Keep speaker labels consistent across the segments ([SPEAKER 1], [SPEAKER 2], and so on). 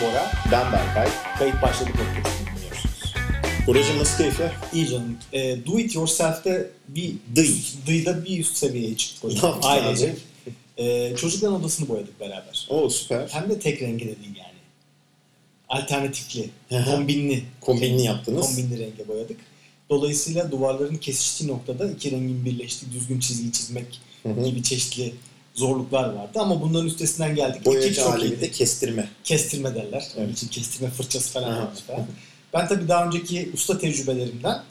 [SPEAKER 1] Kaya, ben Berkay. Kayıt başladı podcast'ını dinliyorsunuz. Buracığım nasıl keyifler?
[SPEAKER 2] İyi canım. E, do it yourself'te bir
[SPEAKER 1] Dıy.
[SPEAKER 2] dıyda bir üst seviyeye çıktık
[SPEAKER 1] Ne
[SPEAKER 2] hocam.
[SPEAKER 1] yaptın
[SPEAKER 2] Ailecek.
[SPEAKER 1] abi?
[SPEAKER 2] E, çocukların odasını boyadık beraber.
[SPEAKER 1] Oo süper.
[SPEAKER 2] Hem de tek rengi de değil yani. Alternatifli,
[SPEAKER 1] Hı hı.
[SPEAKER 2] kombinli.
[SPEAKER 1] Kombinini yaptınız.
[SPEAKER 2] Kombinli renge boyadık. Dolayısıyla duvarların kesiştiği noktada iki rengin birleştiği düzgün çizgi çizmek
[SPEAKER 1] Hı hı.
[SPEAKER 2] gibi çeşitli zorluklar vardı ama bunların üstesinden geldik. Ekip
[SPEAKER 1] Boyacı
[SPEAKER 2] çok
[SPEAKER 1] aleminde
[SPEAKER 2] iyiydi.
[SPEAKER 1] kestirme.
[SPEAKER 2] Kestirme derler. Onun
[SPEAKER 1] Evet.
[SPEAKER 2] için kestirme fırçası falan
[SPEAKER 1] Aha.
[SPEAKER 2] varmış falan. Ben tabii daha önceki usta tecrübelerimden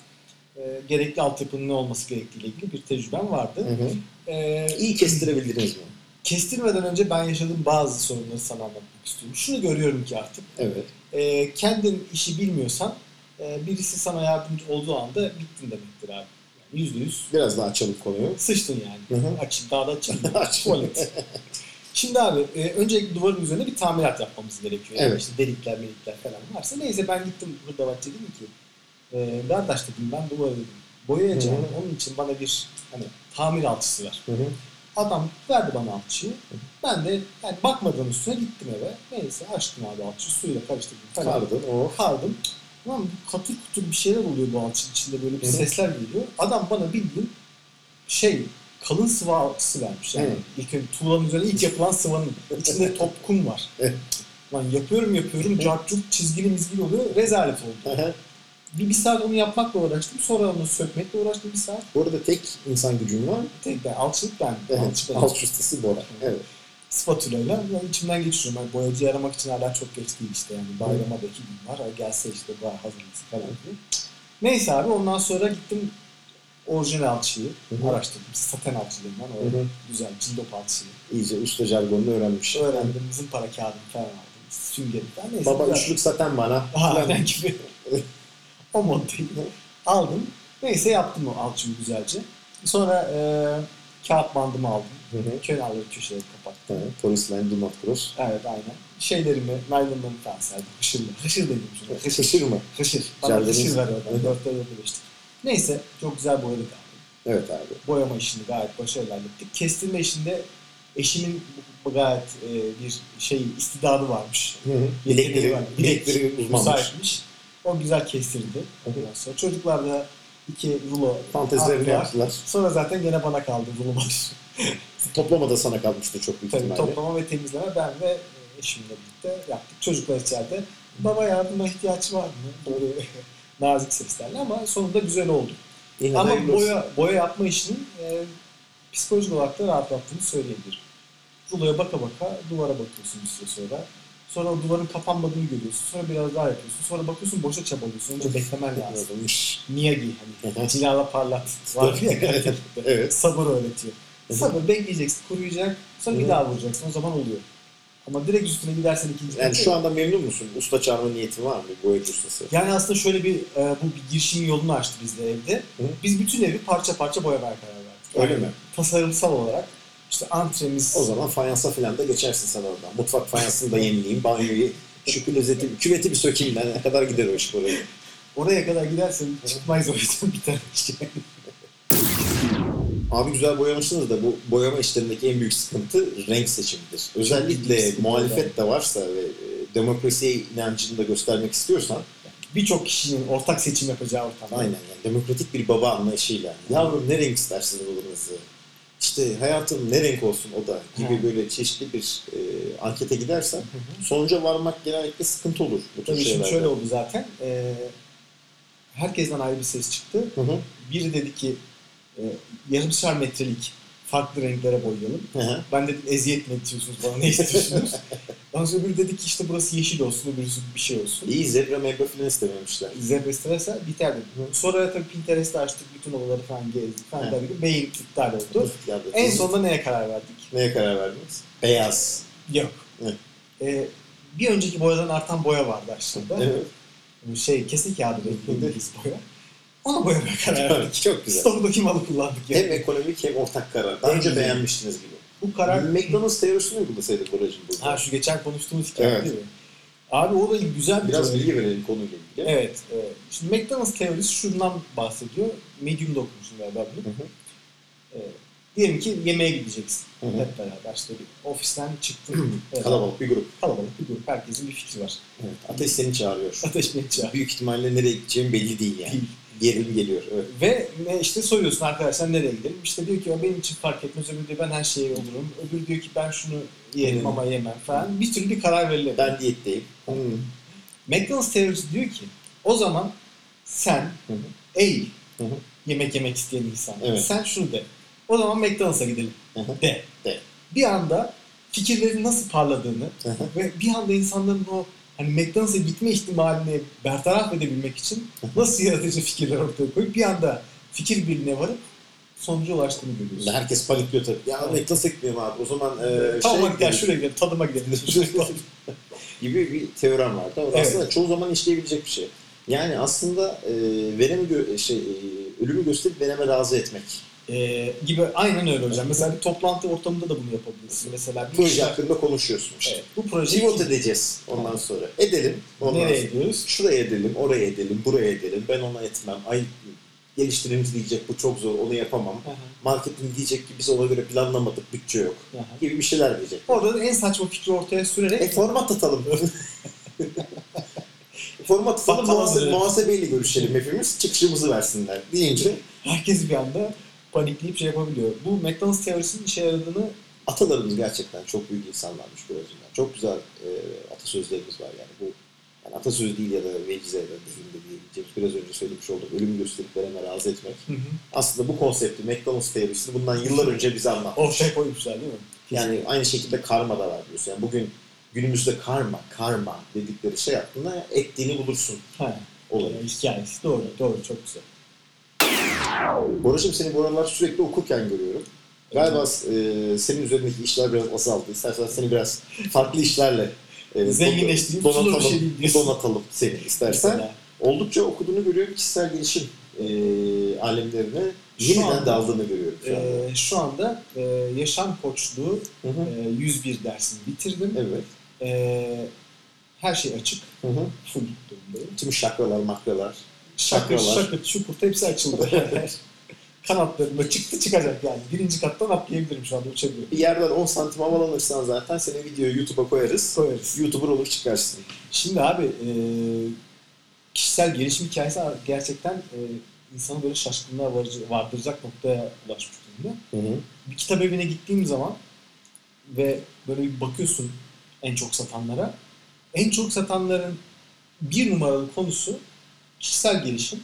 [SPEAKER 2] e, gerekli altyapının ne olması gerektiğiyle ilgili bir tecrübem vardı.
[SPEAKER 1] Hı hı.
[SPEAKER 2] E,
[SPEAKER 1] İyi kestirebildiniz mi?
[SPEAKER 2] kestirmeden önce ben yaşadığım bazı sorunları sana anlatmak istiyorum. Şunu görüyorum ki artık
[SPEAKER 1] Evet.
[SPEAKER 2] e, kendin işi bilmiyorsan e, birisi sana yardımcı olduğu anda bittin demektir abi. Yani Yüzde yüz
[SPEAKER 1] Biraz daha açalım konuyu.
[SPEAKER 2] sıçtın yani.
[SPEAKER 1] Hı hı.
[SPEAKER 2] Açın, daha da açın.
[SPEAKER 1] Aç.
[SPEAKER 2] Tuvalet. Şimdi abi e, öncelikle duvarın üzerine bir tamirat yapmamız gerekiyor. Yani
[SPEAKER 1] Evet.
[SPEAKER 2] İşte delikler melikler falan varsa. Neyse ben gittim hırdavatçı dedim ki e, kardeş dedim ben duvarı dedim. Boyayacağım.
[SPEAKER 1] Hı.
[SPEAKER 2] Onun için bana bir hani tamir alçısı ver.
[SPEAKER 1] Hı hı.
[SPEAKER 2] Adam verdi bana alçıyı. Ben de yani bakmadan üstüne gittim eve. Neyse açtım abi alçıyı suyla karıştırdım. falan.
[SPEAKER 1] Kardın. Oh.
[SPEAKER 2] Kardım. Ulan katır kutur bir şeyler oluyor bu alçının içinde böyle bir
[SPEAKER 1] Hı.
[SPEAKER 2] sesler geliyor. Adam bana bildiğin şey kalın sıvı alçısı vermiş. Yani
[SPEAKER 1] Hı.
[SPEAKER 2] ilk önce tuğlanın üzerine ilk yapılan sıvanın içinde top kum var.
[SPEAKER 1] Evet.
[SPEAKER 2] Lan yapıyorum yapıyorum cartçuk çizgili mizgili oluyor rezalet oldu.
[SPEAKER 1] Hı hı.
[SPEAKER 2] Bir, bir saat onu yapmakla uğraştım sonra onu sökmekle uğraştım bir saat.
[SPEAKER 1] Bu arada tek insan gücün var.
[SPEAKER 2] Tek ben alçılık ben.
[SPEAKER 1] Evet.
[SPEAKER 2] Alçılık ben.
[SPEAKER 1] Alt ustası Bora. Evet.
[SPEAKER 2] spatula'yla yani içimden geçiriyorum. Yani boyacı aramak için hala çok geç değil işte yani. Bayrama da iki gün var. Ay gelse işte var hazırlıksın falan diye. Neyse abi ondan sonra gittim orijinal alçıyı
[SPEAKER 1] Hı hı.
[SPEAKER 2] araştırdım. Saten alçılığından
[SPEAKER 1] Hı
[SPEAKER 2] o
[SPEAKER 1] hı.
[SPEAKER 2] güzel cildop alçıyı.
[SPEAKER 1] İyice usta jargonunu öğrenmiş.
[SPEAKER 2] Öğrendim bizim para kağıdını falan aldım. Süngeri falan neyse.
[SPEAKER 1] Baba
[SPEAKER 2] güzel.
[SPEAKER 1] üçlük zaten bana.
[SPEAKER 2] Aha, Aynen gibi. o moddayı aldım. Neyse yaptım o alçıyı güzelce. Sonra eee kağıt bandımı aldım.
[SPEAKER 1] Hı hı.
[SPEAKER 2] Kenarları köşeleri kapattım.
[SPEAKER 1] Evet, Polis line do not cross.
[SPEAKER 2] Evet aynen. Şeylerimi, naylonlarımı falan serdim. Hışırla. Hışır dedim şuna. Hışır.
[SPEAKER 1] Şaşırma.
[SPEAKER 2] Hışır. Bana
[SPEAKER 1] Güzel dediniz.
[SPEAKER 2] hışır ver
[SPEAKER 1] Evet.
[SPEAKER 2] oradan. Dörtte dörtte beştik. Neyse çok güzel boyadık abi.
[SPEAKER 1] Evet abi.
[SPEAKER 2] Boyama işini gayet başarılı hallettik. Kestirme işinde eşimin bu- bu gayet e, bir şey istidadı varmış.
[SPEAKER 1] Hı hı.
[SPEAKER 2] Yeteneği
[SPEAKER 1] Bilekleri,
[SPEAKER 2] var.
[SPEAKER 1] bilekleri uzmanmış.
[SPEAKER 2] Müsaitmiş. O güzel kestirdi.
[SPEAKER 1] Hı hı.
[SPEAKER 2] Ondan sonra çocuklar da iki rulo
[SPEAKER 1] Fantezilerini
[SPEAKER 2] attılar.
[SPEAKER 1] yaptılar.
[SPEAKER 2] Sonra zaten gene bana kaldı rulo başı.
[SPEAKER 1] Toplama da sana kalmıştı çok büyük
[SPEAKER 2] Tabii
[SPEAKER 1] ihtimalle.
[SPEAKER 2] toplama ve temizleme ben ve e, eşimle birlikte yaptık. Çocuklar içeride baba yardıma ihtiyaç var mı? Böyle nazik seslerle ama sonunda güzel oldu.
[SPEAKER 1] Yine de
[SPEAKER 2] ama
[SPEAKER 1] hayırlı olsun.
[SPEAKER 2] boya, boya yapma işinin e, psikolojik olarak da rahatlattığını söyleyebilirim. Ruloya baka baka duvara bakıyorsun bir süre sonra. Sonra o duvarın kapanmadığını görüyorsun. Sonra biraz daha yapıyorsun. Sonra bakıyorsun boşa çabalıyorsun. Önce beklemen lazım. Miyagi
[SPEAKER 1] Hı hı.
[SPEAKER 2] hani cilala parlat var ya karikatürde.
[SPEAKER 1] Evet.
[SPEAKER 2] Sabır öğretiyor.
[SPEAKER 1] Hı hı.
[SPEAKER 2] Sabır bekleyeceksin, kuruyacak, sonra
[SPEAKER 1] Hı.
[SPEAKER 2] bir daha vuracaksın. O zaman oluyor. Ama direkt üstüne gidersen ikinci
[SPEAKER 1] Yani şu anda memnun musun? Usta çağırma niyetin var mı? Boyacı ustası.
[SPEAKER 2] Yani aslında şöyle bir e, bu bir girişimin yolunu açtı bizde evde.
[SPEAKER 1] Hı.
[SPEAKER 2] Biz bütün evi parça parça boyamaya karar verdik.
[SPEAKER 1] Öyle
[SPEAKER 2] Yani
[SPEAKER 1] mi?
[SPEAKER 2] Tasarımsal olarak işte antremiz,
[SPEAKER 1] O zaman fayansa falan da geçersin sen oradan. Mutfak fayansını da yenileyim. Banyoyu, şu klozeti, küveti bir sökeyim. ben. Ne kadar gider o iş buraya?
[SPEAKER 2] oraya kadar gidersen çıkmayız o yüzden bir tane şey. işte.
[SPEAKER 1] Abi güzel boyamışsınız da bu boyama işlerindeki en büyük sıkıntı renk seçimidir. Özellikle
[SPEAKER 2] büyük sıkıntı
[SPEAKER 1] muhalefet de varsa ve e, demokrasiye inancını da göstermek istiyorsan
[SPEAKER 2] Birçok kişinin ortak seçim yapacağı ortam.
[SPEAKER 1] aynen yani demokratik bir baba anlayışıyla yavrum ne renk istersiniz odanızı? İşte hayatım ne renk olsun o da gibi
[SPEAKER 2] Ha.
[SPEAKER 1] böyle çeşitli bir e, ankete gidersen
[SPEAKER 2] Hı hı.
[SPEAKER 1] sonuca varmak genellikle sıkıntı olur bu tür
[SPEAKER 2] Tabii şimdi
[SPEAKER 1] şeylerde.
[SPEAKER 2] şöyle oldu zaten. E, herkesten ayrı bir ses çıktı.
[SPEAKER 1] Hı hı.
[SPEAKER 2] Biri dedi ki e, yarımşar metrelik farklı renklere boyayalım.
[SPEAKER 1] Hı hı.
[SPEAKER 2] Ben dedim eziyet mi ediyorsunuz bana ne istiyorsunuz? Ondan sonra öbürü dedi ki işte burası yeşil olsun, öbürüsü bir şey olsun.
[SPEAKER 1] İyi zebra meyve filan istememişler.
[SPEAKER 2] Zebra isterse biter dedim. Sonra tabii Pinterest'i açtık, bütün odaları falan gezdik falan
[SPEAKER 1] Evet.
[SPEAKER 2] derken beyin iptal oldu. En sonunda neye karar verdik?
[SPEAKER 1] neye karar verdiniz? Beyaz.
[SPEAKER 2] Yok.
[SPEAKER 1] Evet.
[SPEAKER 2] E, bir önceki boyadan artan boya vardı aslında.
[SPEAKER 1] Evet.
[SPEAKER 2] Şey kese kağıdı renkliydi biz boya. Ona boyamaya karar verdik.
[SPEAKER 1] Çok güzel.
[SPEAKER 2] Stok'daki malı kullandık. Yani.
[SPEAKER 1] Hem ekonomik hem ortak karar. Daha önce
[SPEAKER 2] Evet.
[SPEAKER 1] beğenmiştiniz gibi.
[SPEAKER 2] Bu karar
[SPEAKER 1] McDonald's teorisini uygulasaydık Buracığım burada.
[SPEAKER 2] Ha şu geçen konuştuğumuz hikaye
[SPEAKER 1] Evet.
[SPEAKER 2] değil mi? Abi o da güzel bir
[SPEAKER 1] Biraz
[SPEAKER 2] teori.
[SPEAKER 1] bilgi verelim konuyla ilgili.
[SPEAKER 2] Evet, evet. Şimdi McDonald's teorisi şundan bahsediyor. Medium'da okumuşum galiba bunu.
[SPEAKER 1] Hı hı.
[SPEAKER 2] Ee, Diyelim ki yemeğe gideceksin.
[SPEAKER 1] Hı hı.
[SPEAKER 2] Hep beraber işte bir ofisten çıktın. Evet.
[SPEAKER 1] Kalabalık bir grup.
[SPEAKER 2] Kalabalık bir grup. Herkesin bir fikri var.
[SPEAKER 1] Evet, ateş seni çağırıyor.
[SPEAKER 2] Ateş ne çağır?
[SPEAKER 1] Büyük ihtimalle nereye gideceğim belli değil yani.
[SPEAKER 2] Değil.
[SPEAKER 1] Gerilim geliyor. Evet.
[SPEAKER 2] Ve ne işte soruyorsun arkadaşlar nereye gidelim? İşte diyor ki ya benim için fark etmez. Öbürü diyor ben her şeye olurum. Öbürü diyor ki ben şunu yerim
[SPEAKER 1] Hmm.
[SPEAKER 2] ama yemem falan. Bir türlü bir karar verilemiyor.
[SPEAKER 1] Ben diyetteyim.
[SPEAKER 2] McDonald's teorisi diyor ki o zaman sen
[SPEAKER 1] Hı hı.
[SPEAKER 2] ey
[SPEAKER 1] Hı hı.
[SPEAKER 2] yemek yemek isteyen insan
[SPEAKER 1] Evet.
[SPEAKER 2] sen şunu de. O zaman McDonald's'a gidelim.
[SPEAKER 1] Hı hı.
[SPEAKER 2] De.
[SPEAKER 1] De.
[SPEAKER 2] Bir anda fikirlerin nasıl parladığını
[SPEAKER 1] Hı hı.
[SPEAKER 2] ve bir anda insanların o hani McDonald's'a gitme ihtimalini bertaraf edebilmek için nasıl yaratıcı fikirler ortaya koyup bir anda fikir birliğine varıp sonuca ulaştığını görüyorsun.
[SPEAKER 1] Herkes panikliyor tabii. Ya
[SPEAKER 2] Evet.
[SPEAKER 1] McDonald's'a gitmiyorum abi. O zaman e,
[SPEAKER 2] tamam
[SPEAKER 1] şeye
[SPEAKER 2] hadi gel
[SPEAKER 1] gidelim.
[SPEAKER 2] şuraya gidelim tadıma gidelim.
[SPEAKER 1] gibi bir teorem var. Tamam.
[SPEAKER 2] Evet.
[SPEAKER 1] Aslında çoğu zaman işleyebilecek bir şey. Yani aslında e, veremi gö- şey, e, ölümü gösterip vereme razı etmek.
[SPEAKER 2] Ee, gibi aynen öyle hocam. Mesela bir toplantı ortamında da bunu yapabilirsin. Mesela bir
[SPEAKER 1] Proje
[SPEAKER 2] işler-
[SPEAKER 1] hakkında konuşuyorsun işte.
[SPEAKER 2] Evet, bu projeyi
[SPEAKER 1] Pivot edeceğiz ondan sonra. Edelim. Ondan
[SPEAKER 2] nereye
[SPEAKER 1] sonra.
[SPEAKER 2] gidiyoruz?
[SPEAKER 1] Şuraya edelim, oraya edelim, buraya edelim. Ben ona etmem. Ay geliştirimiz diyecek bu çok zor, onu yapamam. Marketing diyecek ki biz ona göre planlamadık, bütçe yok gibi bir şeyler diyecek.
[SPEAKER 2] Orada da en saçma fikri ortaya sürerek
[SPEAKER 1] E format atalım. format atalım,
[SPEAKER 2] Bakalım
[SPEAKER 1] muhase-
[SPEAKER 2] diyor.
[SPEAKER 1] muhasebeyle görüşelim hepimiz, çıkışımızı versinler deyince
[SPEAKER 2] herkes bir anda panikleyip şey yapabiliyor. Bu McDonald's teorisinin işe yaradığını
[SPEAKER 1] atalarımız gerçekten çok büyük insanlarmış bu yüzden. Çok güzel e, atasözlerimiz var yani bu. Yani atasöz değil ya da vecize ya da deyim de diyebileceğimiz biraz önce söylemiş olduğum ölüm gösterip vereme razı etmek. Aslında bu konsepti McDonald's teorisini bundan yıllar önce bize anlattı.
[SPEAKER 2] ortaya koymuşlar değil mi?
[SPEAKER 1] Yani aynı şekilde karma da var diyorsun. Yani bugün günümüzde karma, karma dedikleri şey hakkında ettiğini bulursun
[SPEAKER 2] Ha,
[SPEAKER 1] olayı.
[SPEAKER 2] e, hikayesi. Doğru, doğru. Çok güzel.
[SPEAKER 1] Boracığım seni bu aralar sürekli okurken görüyorum. Galiba e, senin üzerindeki işler biraz azaldı. İstersen seni biraz farklı işlerle e,
[SPEAKER 2] Zenginleştireyim, sulu bir şey
[SPEAKER 1] donatalım,
[SPEAKER 2] diyeyim diyorsun.
[SPEAKER 1] donatalım seni istersen.
[SPEAKER 2] Mesela
[SPEAKER 1] Oldukça okuduğunu görüyorum kişisel gelişim e, alemlerine
[SPEAKER 2] Şu
[SPEAKER 1] yeniden
[SPEAKER 2] anda-
[SPEAKER 1] daldığını görüyorum şu anda.
[SPEAKER 2] e, şu anda e, yaşam koçluğu
[SPEAKER 1] Hı
[SPEAKER 2] e,
[SPEAKER 1] hı.
[SPEAKER 2] 101 dersini bitirdim.
[SPEAKER 1] Evet.
[SPEAKER 2] E, her şey açık.
[SPEAKER 1] Hı hı.
[SPEAKER 2] Full durumdayım.
[SPEAKER 1] Tüm şakralar, makralar.
[SPEAKER 2] Şakır
[SPEAKER 1] Şakralar.
[SPEAKER 2] şakır çukurta hepsi açıldı. Kanatlarımda çıktı çıkacak yani. Birinci kattan atlayabilirim şu anda uçabiliyorum.
[SPEAKER 1] Bir yerden 10 santim havalanırsan zaten seni videoyu YouTube'a koyarız.
[SPEAKER 2] Koyarız.
[SPEAKER 1] YouTuber olur çıkarsın.
[SPEAKER 2] Şimdi abi e, kişisel gelişim hikayesi gerçekten e, insanı böyle şaşkınlığa varıcı, vardıracak noktaya ulaşmış durumda.
[SPEAKER 1] Hı hı.
[SPEAKER 2] Bir kitap evine gittiğim zaman ve böyle bir bakıyorsun en çok satanlara. En çok satanların bir numaralı konusu kişisel gelişim,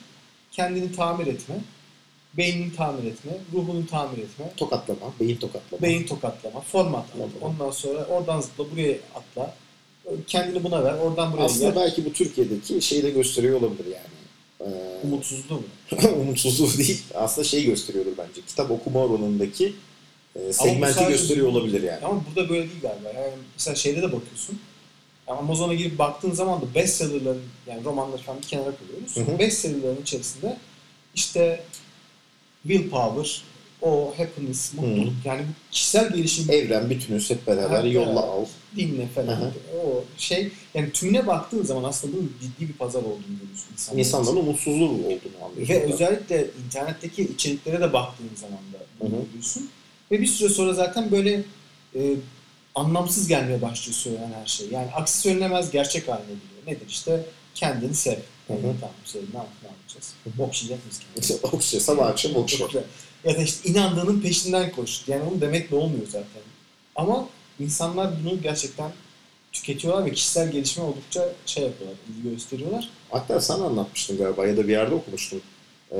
[SPEAKER 2] kendini tamir etme, beynini tamir etme, ruhunu tamir etme,
[SPEAKER 1] Tokatlama, beyin tokatlama.
[SPEAKER 2] beyin tokatlama, format at. Ondan sonra oradan zıpla buraya atla. Kendini buna ver, oradan buraya
[SPEAKER 1] Aslında
[SPEAKER 2] gel.
[SPEAKER 1] belki bu Türkiye'deki şeyi de gösteriyor olabilir yani. Ee,
[SPEAKER 2] Umutsuzluğu mu?
[SPEAKER 1] umutsuzluğu değil. Aslında şey gösteriyordur bence. Kitap okuma oranındaki e,
[SPEAKER 2] Ama bu
[SPEAKER 1] segmenti
[SPEAKER 2] sadece-
[SPEAKER 1] gösteriyor olabilir yani.
[SPEAKER 2] Ama burada böyle değil galiba. Yani mesela şeyde de bakıyorsun. Yani Amazon'a girip baktığın zaman da bestsellerların yani romanları falan bir kenara koyuyoruz.
[SPEAKER 1] Hı hı.
[SPEAKER 2] Bestsellerların içerisinde işte willpower, o happiness, mutluluk yani bu kişisel gelişim
[SPEAKER 1] Evren bütünüz hep beraber
[SPEAKER 2] Hep
[SPEAKER 1] yolla
[SPEAKER 2] beraber.
[SPEAKER 1] al.
[SPEAKER 2] dinle falan
[SPEAKER 1] Hı hı.
[SPEAKER 2] o şey yani tümüne baktığın zaman aslında bunun ciddi bir pazar olduğunu görüyorsun insanların.
[SPEAKER 1] İnsanların umutsuzluğu olduğunu anlıyorsun.
[SPEAKER 2] Ve özellikle internetteki içeriklere de baktığın zaman da bunu
[SPEAKER 1] Hı hı.
[SPEAKER 2] görüyorsun. Ve bir süre sonra zaten böyle e, anlamsız gelmeye başlıyor söylenen her şey. Yani aksi söylenemez gerçek haline geliyor. Nedir işte kendini sev.
[SPEAKER 1] Hı hı.
[SPEAKER 2] Yani tamam sevdim ne, yap- ne yapacağız? Okşayacak mıyız kendimizi?
[SPEAKER 1] Okşa, sabah akşam okşa.
[SPEAKER 2] Çok güzel. Ya da işte inandığının peşinden koş. Yani onu demek de olmuyor zaten. Ama insanlar bunu gerçekten tüketiyorlar ve kişisel gelişime oldukça şey yapıyorlar, ilgi gösteriyorlar.
[SPEAKER 1] Hatta sen anlatmıştın galiba ya da bir yerde okumuştun. Ee,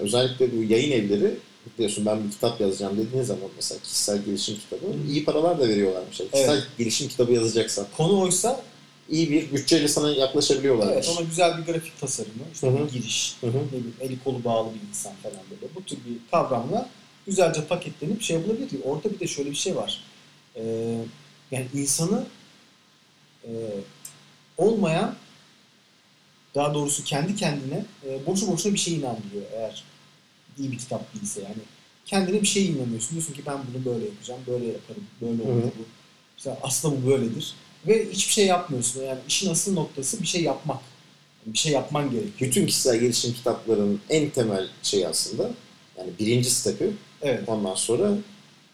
[SPEAKER 1] özellikle bu yayın evleri biliyorsun ben bir kitap yazacağım dediğin zaman mesela kişisel gelişim kitabı
[SPEAKER 2] Hı.
[SPEAKER 1] iyi paralar da veriyorlarmış. Yani Kişisel gelişim kitabı yazacaksan
[SPEAKER 2] Konu oysa
[SPEAKER 1] iyi bir bütçeyle sana yaklaşabiliyorlarmış.
[SPEAKER 2] Evet ona güzel bir grafik tasarımı, işte
[SPEAKER 1] Hı hı.
[SPEAKER 2] bir giriş,
[SPEAKER 1] Hı hı.
[SPEAKER 2] ne bileyim eli kolu bağlı bir insan falan böyle. Bu tür bir kavramla güzelce paketlenip şey yapılabilir. ki Orada bir de şöyle bir şey var. Ee, yani insanı e, olmayan daha doğrusu kendi kendine e, boşu boşuna bir şey inandırıyor eğer iyi bir kitap değilse yani. Kendine bir şey inanıyorsun. Diyorsun ki ben bunu böyle yapacağım, böyle yaparım, böyle
[SPEAKER 1] Hı
[SPEAKER 2] olur
[SPEAKER 1] hı.
[SPEAKER 2] bu. İşte aslında bu böyledir. Ve hiçbir şey yapmıyorsun. Yani işin asıl noktası bir şey yapmak. Yani bir şey yapman gerekiyor.
[SPEAKER 1] bütün kişisel gelişim kitaplarının en temel şeyi aslında yani birinci stepi
[SPEAKER 2] Evet.
[SPEAKER 1] ondan sonra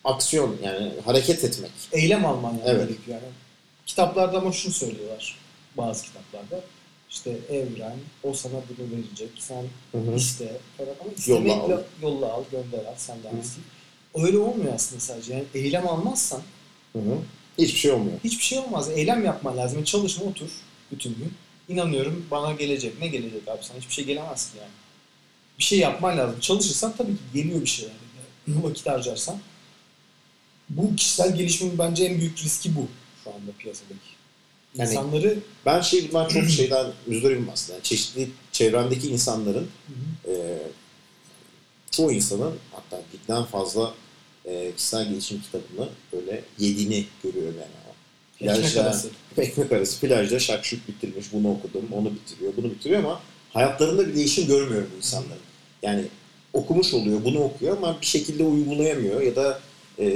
[SPEAKER 1] aksiyon yani hareket etmek.
[SPEAKER 2] eylem alman yani
[SPEAKER 1] Evet.
[SPEAKER 2] gerekiyor. Yani kitaplarda ama şunu söylüyorlar bazı kitaplarda. İşte evren, o sana bunu verecek, sen iste falan ama istemekle
[SPEAKER 1] Yolla
[SPEAKER 2] yolla
[SPEAKER 1] al.
[SPEAKER 2] al, gönder al, sen de alsın. Öyle olmuyor aslında sadece. Yani eylem almazsan
[SPEAKER 1] Hı hı. Hiçbir şey olmuyor.
[SPEAKER 2] hiçbir şey olmaz. Eylem yapman lazım. Yani çalışma otur bütün gün. İnanıyorum bana gelecek. Ne gelecek abi sana? Hiçbir şey gelemez ki yani. Bir şey yapman lazım. Çalışırsan tabii ki geliyor bir şey yani. Yani Vakit harcarsan. Bu kişisel gelişimin bence en büyük riski bu şu anda piyasadaki.
[SPEAKER 1] Yani-
[SPEAKER 2] İnsanları
[SPEAKER 1] Ben şey bundan çok şeyden müzdaribim aslında. Yani çeşitli çevremdeki insanların e, çoğu insanın hatta birden fazla e, kişisel gelişim kitabını böyle yediğini görüyorum yani.
[SPEAKER 2] ekmek
[SPEAKER 1] Plajda,
[SPEAKER 2] arası.
[SPEAKER 1] ekmek arası plajda şakşuk bitirmiş, bunu okudum, onu bitiriyor, bunu bitiriyor ama hayatlarında bir değişim görmüyorum bu insanların. Yani okumuş oluyor, bunu okuyor ama bir şekilde uygulayamıyor ya da e,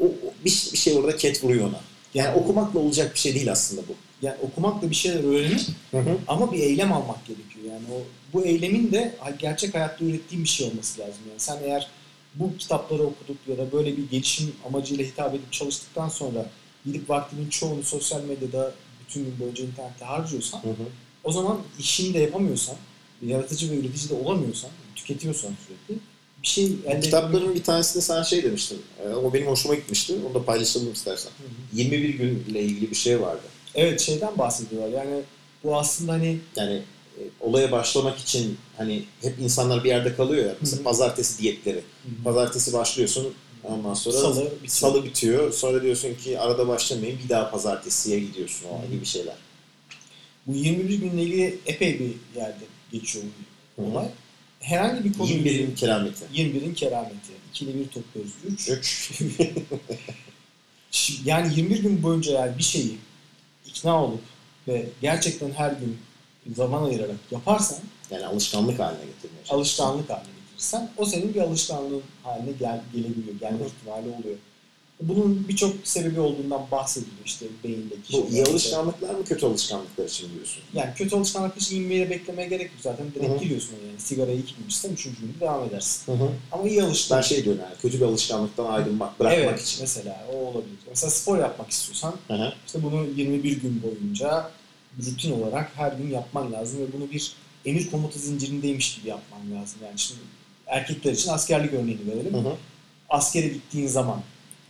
[SPEAKER 1] o, o- bir, bir şey orada ket vuruyor ona. Yani okumakla olacak bir şey değil aslında bu.
[SPEAKER 2] Yani okumakla bir şeyler öğrenip Ama bir eylem almak gerekiyor yani. O, bu eylemin de ha- gerçek hayatta ürettiğim bir şey olması lazım. Yani sen eğer bu kitapları okuduk ya da böyle bir gelişim amacıyla hitap edip çalıştıktan sonra gidip vaktimin çoğunu sosyal medyada bütün gün boyunca internette harcıyorsan
[SPEAKER 1] Hı hı.
[SPEAKER 2] o zaman işini de yapamıyorsan yaratıcı ve üretici de olamıyorsan tüketiyorsan sürekli bir şey elde
[SPEAKER 1] Kitapların bir tanesinde sen şey demiştin. e, O benim hoşuma gitmişti. Onu da paylaşalım istersen.
[SPEAKER 2] Hı hı.
[SPEAKER 1] 21 günle ilgili bir şey vardı.
[SPEAKER 2] Evet şeyden bahsediyorlar yani bu aslında hani
[SPEAKER 1] Yani e, olaya başlamak için hani hep insanlar bir yerde kalıyor ya. Mesela
[SPEAKER 2] Hı hı.
[SPEAKER 1] pazartesi diyetleri. Pazartesi başlıyorsun ondan sonra salı,
[SPEAKER 2] salı, bir
[SPEAKER 1] bitiyor. Sonra diyorsun ki arada başlamayayım bir daha pazartesiye gidiyorsun o
[SPEAKER 2] Hı hı.
[SPEAKER 1] gibi şeyler.
[SPEAKER 2] bu 21 günle ilgili epey bir yerde geçiyor bu
[SPEAKER 1] Hı hı.
[SPEAKER 2] olay. Herhangi bir konu
[SPEAKER 1] 21'in kerameti.
[SPEAKER 2] 21'in kerameti. İkili bir topluyoruz. 3.
[SPEAKER 1] 3.
[SPEAKER 2] Yani 21 gün boyunca yani bir şeyi ikna olup ve gerçekten her gün zaman ayırarak yaparsan,
[SPEAKER 1] Yani alışkanlık haline getirmeye çalışıyorsun.
[SPEAKER 2] alışkanlık haline getirirsen o senin bir alışkanlığın haline gel, gelebiliyor, gelme ihtimali oluyor. Bunun birçok sebebi olduğundan bahsediliyor işte beyindeki.
[SPEAKER 1] Bu iyi
[SPEAKER 2] şeylerde.
[SPEAKER 1] alışkanlıklar mı kötü alışkanlıklar için diyorsun?
[SPEAKER 2] Yani kötü alışkanlık için inmeye beklemeye gerek yok zaten. Direkt
[SPEAKER 1] Hı hı.
[SPEAKER 2] giriyorsun oraya. yani. Sigarayı iki gün içsen üçüncü günde devam edersin.
[SPEAKER 1] Hı hı.
[SPEAKER 2] Ama iyi
[SPEAKER 1] Ben
[SPEAKER 2] alışkanlık.
[SPEAKER 1] şey diyorum yani kötü bir alışkanlıktan ayrılmak, bırakmak
[SPEAKER 2] evet,
[SPEAKER 1] için.
[SPEAKER 2] mesela o olabilir. Mesela spor yapmak istiyorsan
[SPEAKER 1] Hı hı.
[SPEAKER 2] İşte bunu 21 gün boyunca rutin olarak her gün yapman lazım ve bunu bir emir komuta zincirindeymiş gibi yapman lazım. Yani şimdi erkekler için askerlik örneğini verelim.
[SPEAKER 1] Hı hı.
[SPEAKER 2] Askere gittiğin zaman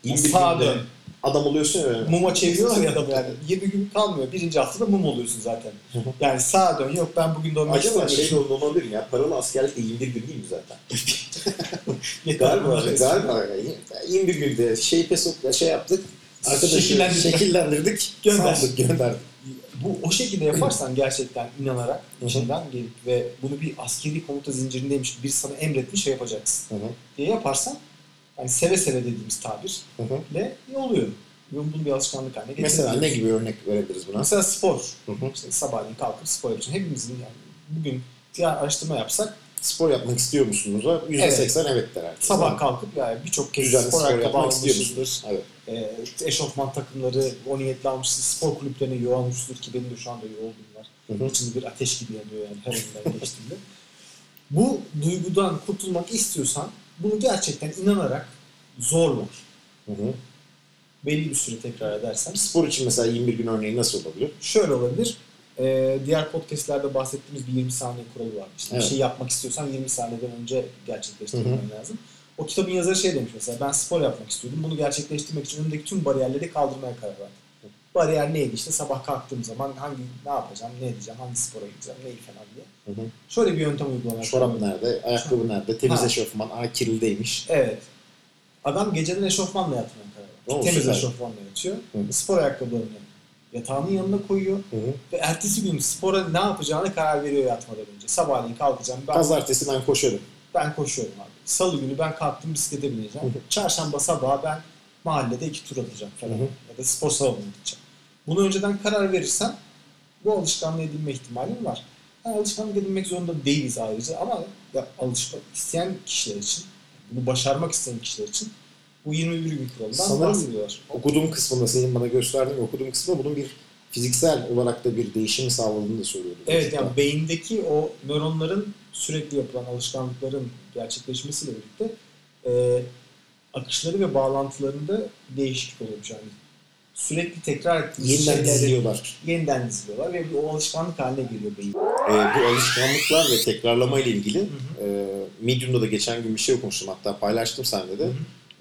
[SPEAKER 1] İyi bir
[SPEAKER 2] sağa
[SPEAKER 1] günde
[SPEAKER 2] dön,
[SPEAKER 1] adam oluyorsun ya. öyle.
[SPEAKER 2] muma çeviriyorlar ya da yani 20 gün kalmıyor. Birinci haftada mum oluyorsun zaten. Yani sağa dön, yok ben bugün dönmek
[SPEAKER 1] Acaba
[SPEAKER 2] istemiyorum.
[SPEAKER 1] şey de olmalı değil mi ya? Paralı askerlik de 21 gün değil mi zaten?
[SPEAKER 2] Yeter,
[SPEAKER 1] Galiba,
[SPEAKER 2] bunlar-
[SPEAKER 1] galiba. yani 21 günde şey pesokla şey yaptık. Arkadaşı
[SPEAKER 2] Şekillendirdik.
[SPEAKER 1] şekillendirdik.
[SPEAKER 2] Gönder.
[SPEAKER 1] Saldık, gönderdik.
[SPEAKER 2] bu o şekilde yaparsan gerçekten inanarak içinden gelip ve bunu bir askeri komuta zincirindeymiş bir sana emretmiş şey yapacaksın.
[SPEAKER 1] Hı hı.
[SPEAKER 2] diye yaparsan yani seve seve dediğimiz tabirle
[SPEAKER 1] Hı hı.
[SPEAKER 2] ne oluyor? Bunun bunun bir alışkanlık haline getiriyor.
[SPEAKER 1] Mesela ne gibi örnek verebiliriz buna?
[SPEAKER 2] Mesela spor.
[SPEAKER 1] Hı hı.
[SPEAKER 2] İşte sabahleyin kalkıp spor yapıyorsun. Hepimizin yani bugün bir araştırma yapsak
[SPEAKER 1] Spor yapmak istiyor musunuz? %80 evet, der herkes.
[SPEAKER 2] sabah kalkıp yani birçok kez
[SPEAKER 1] Düzenli
[SPEAKER 2] spor
[SPEAKER 1] spor
[SPEAKER 2] ayakkabı
[SPEAKER 1] yapmak istiyor
[SPEAKER 2] almışızdır.
[SPEAKER 1] musunuz? Evet.
[SPEAKER 2] E, eşofman takımları o niyetle almışızdır. Spor kulüplerine yoğunmuşuzdur ki benim de şu anda yoğunluğum var.
[SPEAKER 1] Hı hı.
[SPEAKER 2] İçimde bir ateş gibi yanıyor yani her önümden geçtiğimde. Bu duygudan kurtulmak istiyorsan bunu gerçekten inanarak zorla
[SPEAKER 1] Hı hı.
[SPEAKER 2] belli bir süre tekrar edersen
[SPEAKER 1] Spor için mesela 21 gün örneği nasıl olabilir?
[SPEAKER 2] şöyle olabilir. Ee, diğer podcastlerde bahsettiğimiz bir 20 saniye kuralı var. İşte
[SPEAKER 1] Evet.
[SPEAKER 2] Bir şey yapmak istiyorsan 20 saniyeden önce gerçekleştirmen
[SPEAKER 1] Hı
[SPEAKER 2] lazım. O kitabın yazarı şey demiş mesela ben spor yapmak istiyordum. Bunu gerçekleştirmek için önümdeki tüm bariyerleri kaldırmaya karar verdim. Bariyer neydi işte sabah kalktığım zaman hangi ne yapacağım, ne edeceğim, hangi spora gideceğim, neyi falan diye.
[SPEAKER 1] Hı hı.
[SPEAKER 2] Şöyle bir yöntem uygulamaya
[SPEAKER 1] Çorap
[SPEAKER 2] karar verdim.
[SPEAKER 1] nerede? Ayakkabı nerede? Temiz
[SPEAKER 2] Ha.
[SPEAKER 1] eşofman. Aa kirlideymiş.
[SPEAKER 2] Evet. Adam geceden eşofmanla yatmaya karar verdi.
[SPEAKER 1] Oo,
[SPEAKER 2] Temiz
[SPEAKER 1] süper.
[SPEAKER 2] eşofmanla yatıyor.
[SPEAKER 1] Hı.
[SPEAKER 2] Spor ayakkabılarını yatağının yanına koyuyor.
[SPEAKER 1] Hı hı.
[SPEAKER 2] Ve ertesi gün spora ne yapacağına karar veriyor yatmadan önce. Sabahleyin kalkacağım. Ben,
[SPEAKER 1] Pazartesi ben koşarım.
[SPEAKER 2] ben koşuyorum abi. Salı günü ben kalktım bisiklete bineceğim.
[SPEAKER 1] Hı hı.
[SPEAKER 2] Çarşamba sabahı ben mahallede iki tur atacağım falan.
[SPEAKER 1] Hı hı.
[SPEAKER 2] Ya da spor salonuna gideceğim. Bunu önceden karar verirsen bu alışkanlığı edinme ihtimalin var. Yani alışkanlık edinmek zorunda değiliz ayrıca ama ya, alışmak isteyen kişiler için, bunu başarmak isteyen kişiler için bu 21 gün kuralından
[SPEAKER 1] Sanırım-
[SPEAKER 2] bahsediyorlar.
[SPEAKER 1] Okuduğum kısmında senin bana gösterdiğin okuduğum kısmında bunun bir fiziksel olarak da bir değişimi sağladığını da söylüyordun.
[SPEAKER 2] Evet yani beyindeki o nöronların sürekli yapılan alışkanlıkların gerçekleşmesiyle birlikte e, akışları ve bağlantılarında değişiklik oluyormuş yani. Sürekli tekrar ettiğimiz
[SPEAKER 1] Yeniden
[SPEAKER 2] şeyleri
[SPEAKER 1] diziliyorlar.
[SPEAKER 2] yeniden diziliyorlar ve bu alışkanlık haline geliyor beyin.
[SPEAKER 1] Ee, bu alışkanlıklar ve tekrarlama ile ilgili e, Medium'da da geçen gün bir şey okumuştum hatta paylaştım sende de.
[SPEAKER 2] Hı hı.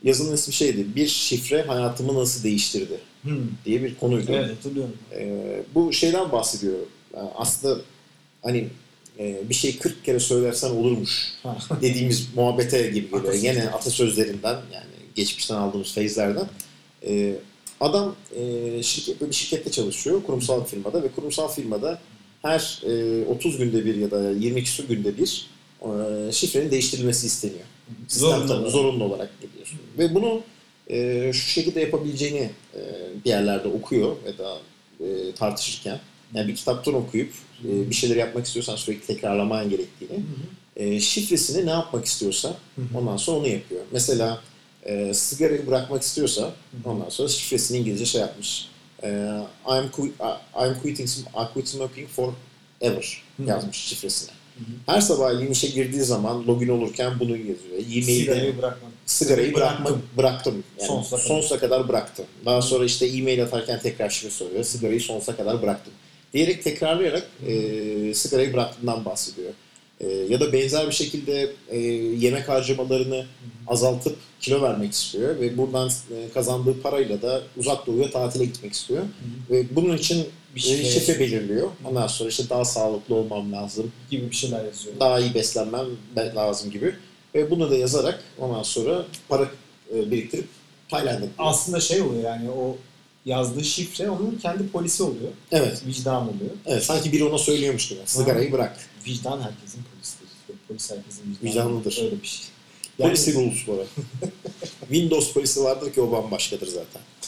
[SPEAKER 1] Yazının ismi şeydi. Bir şifre hayatımı nasıl değiştirdi
[SPEAKER 2] Hmm.
[SPEAKER 1] diye bir konuydu.
[SPEAKER 2] Evet hatırlıyorum.
[SPEAKER 1] Ee, bu şeyden bahsediyor. Yani aslında hani e, bir şey 40 kere söylersen olurmuş
[SPEAKER 2] Ha.
[SPEAKER 1] dediğimiz muhabbete gibi geliyor.
[SPEAKER 2] Atasözleri.
[SPEAKER 1] Yine atasözlerinden yani geçmişten aldığımız feyizlerden. Ee, adam e, şirket, böyle bir şirkette çalışıyor kurumsal firmada ve kurumsal firmada her e, 30 günde bir ya da 22 günde bir e, şifrenin değiştirilmesi isteniyor. Sistem
[SPEAKER 2] Zorunda.
[SPEAKER 1] tabii zorunlu olarak gidiyorsun. Ve bunu e, şu şekilde yapabileceğini e, bir yerlerde okuyor ya da e, tartışırken. Yani bir kitaptan okuyup e, bir şeyler yapmak istiyorsan sürekli tekrarlaman gerektiğini.
[SPEAKER 2] Hı hı.
[SPEAKER 1] E, şifresini ne yapmak istiyorsa
[SPEAKER 2] Hı hı.
[SPEAKER 1] ondan sonra onu yapıyor. Mesela e, sigarayı bırakmak istiyorsa
[SPEAKER 2] hı.
[SPEAKER 1] ondan sonra şifresini İngilizce şey yapmış. E, I'm, qui- I'm quitting, I quit smoking for ever
[SPEAKER 2] Hı hı.
[SPEAKER 1] yazmış şifresine.
[SPEAKER 2] Hı
[SPEAKER 1] Her sabah işe girdiği zaman login olurken bunu yazıyor. E-mail'i de
[SPEAKER 2] Sigarayı bırakmak.
[SPEAKER 1] sigarayı
[SPEAKER 2] Bıraktım.
[SPEAKER 1] bıraktım. bıraktım. Yani
[SPEAKER 2] Sonsuza
[SPEAKER 1] sonsuza,
[SPEAKER 2] kadar.
[SPEAKER 1] kadar. bıraktım. Daha sonra işte e-mail atarken tekrar şifre soruyor. Sigarayı sonsuza kadar bıraktım. Diyerek tekrarlayarak e, sigarayı bıraktığından bahsediyor. E, ya da benzer bir şekilde e, yemek harcamalarını azaltıp kilo vermek istiyor ve buradan e, kazandığı parayla da uzak doğuya tatile gitmek istiyor. Ve bunun için bir şey
[SPEAKER 2] şifre-
[SPEAKER 1] şifre, belirliyor. Ondan sonra işte daha sağlıklı olmam lazım,
[SPEAKER 2] gibi bir şeyler yazıyor.
[SPEAKER 1] daha iyi beslenmem be- lazım gibi. Ve bunu da yazarak ondan sonra para e, biriktirip Tayland'a gidiyor.
[SPEAKER 2] Aslında şey oluyor yani o yazdığı şifre onun kendi polisi oluyor.
[SPEAKER 1] Evet,
[SPEAKER 2] Vicdan oluyor.
[SPEAKER 1] evet. Sanki biri ona söylüyormuş gibi. Sigarayı bırak.
[SPEAKER 2] Vicdan herkesin polisidir. Polis herkesin vicdanı.
[SPEAKER 1] Vicdanlıdır.
[SPEAKER 2] Öyle bir şey. Yani-
[SPEAKER 1] Polisi rules bu arada. Windows polisi vardır ki o bambaşkadır zaten.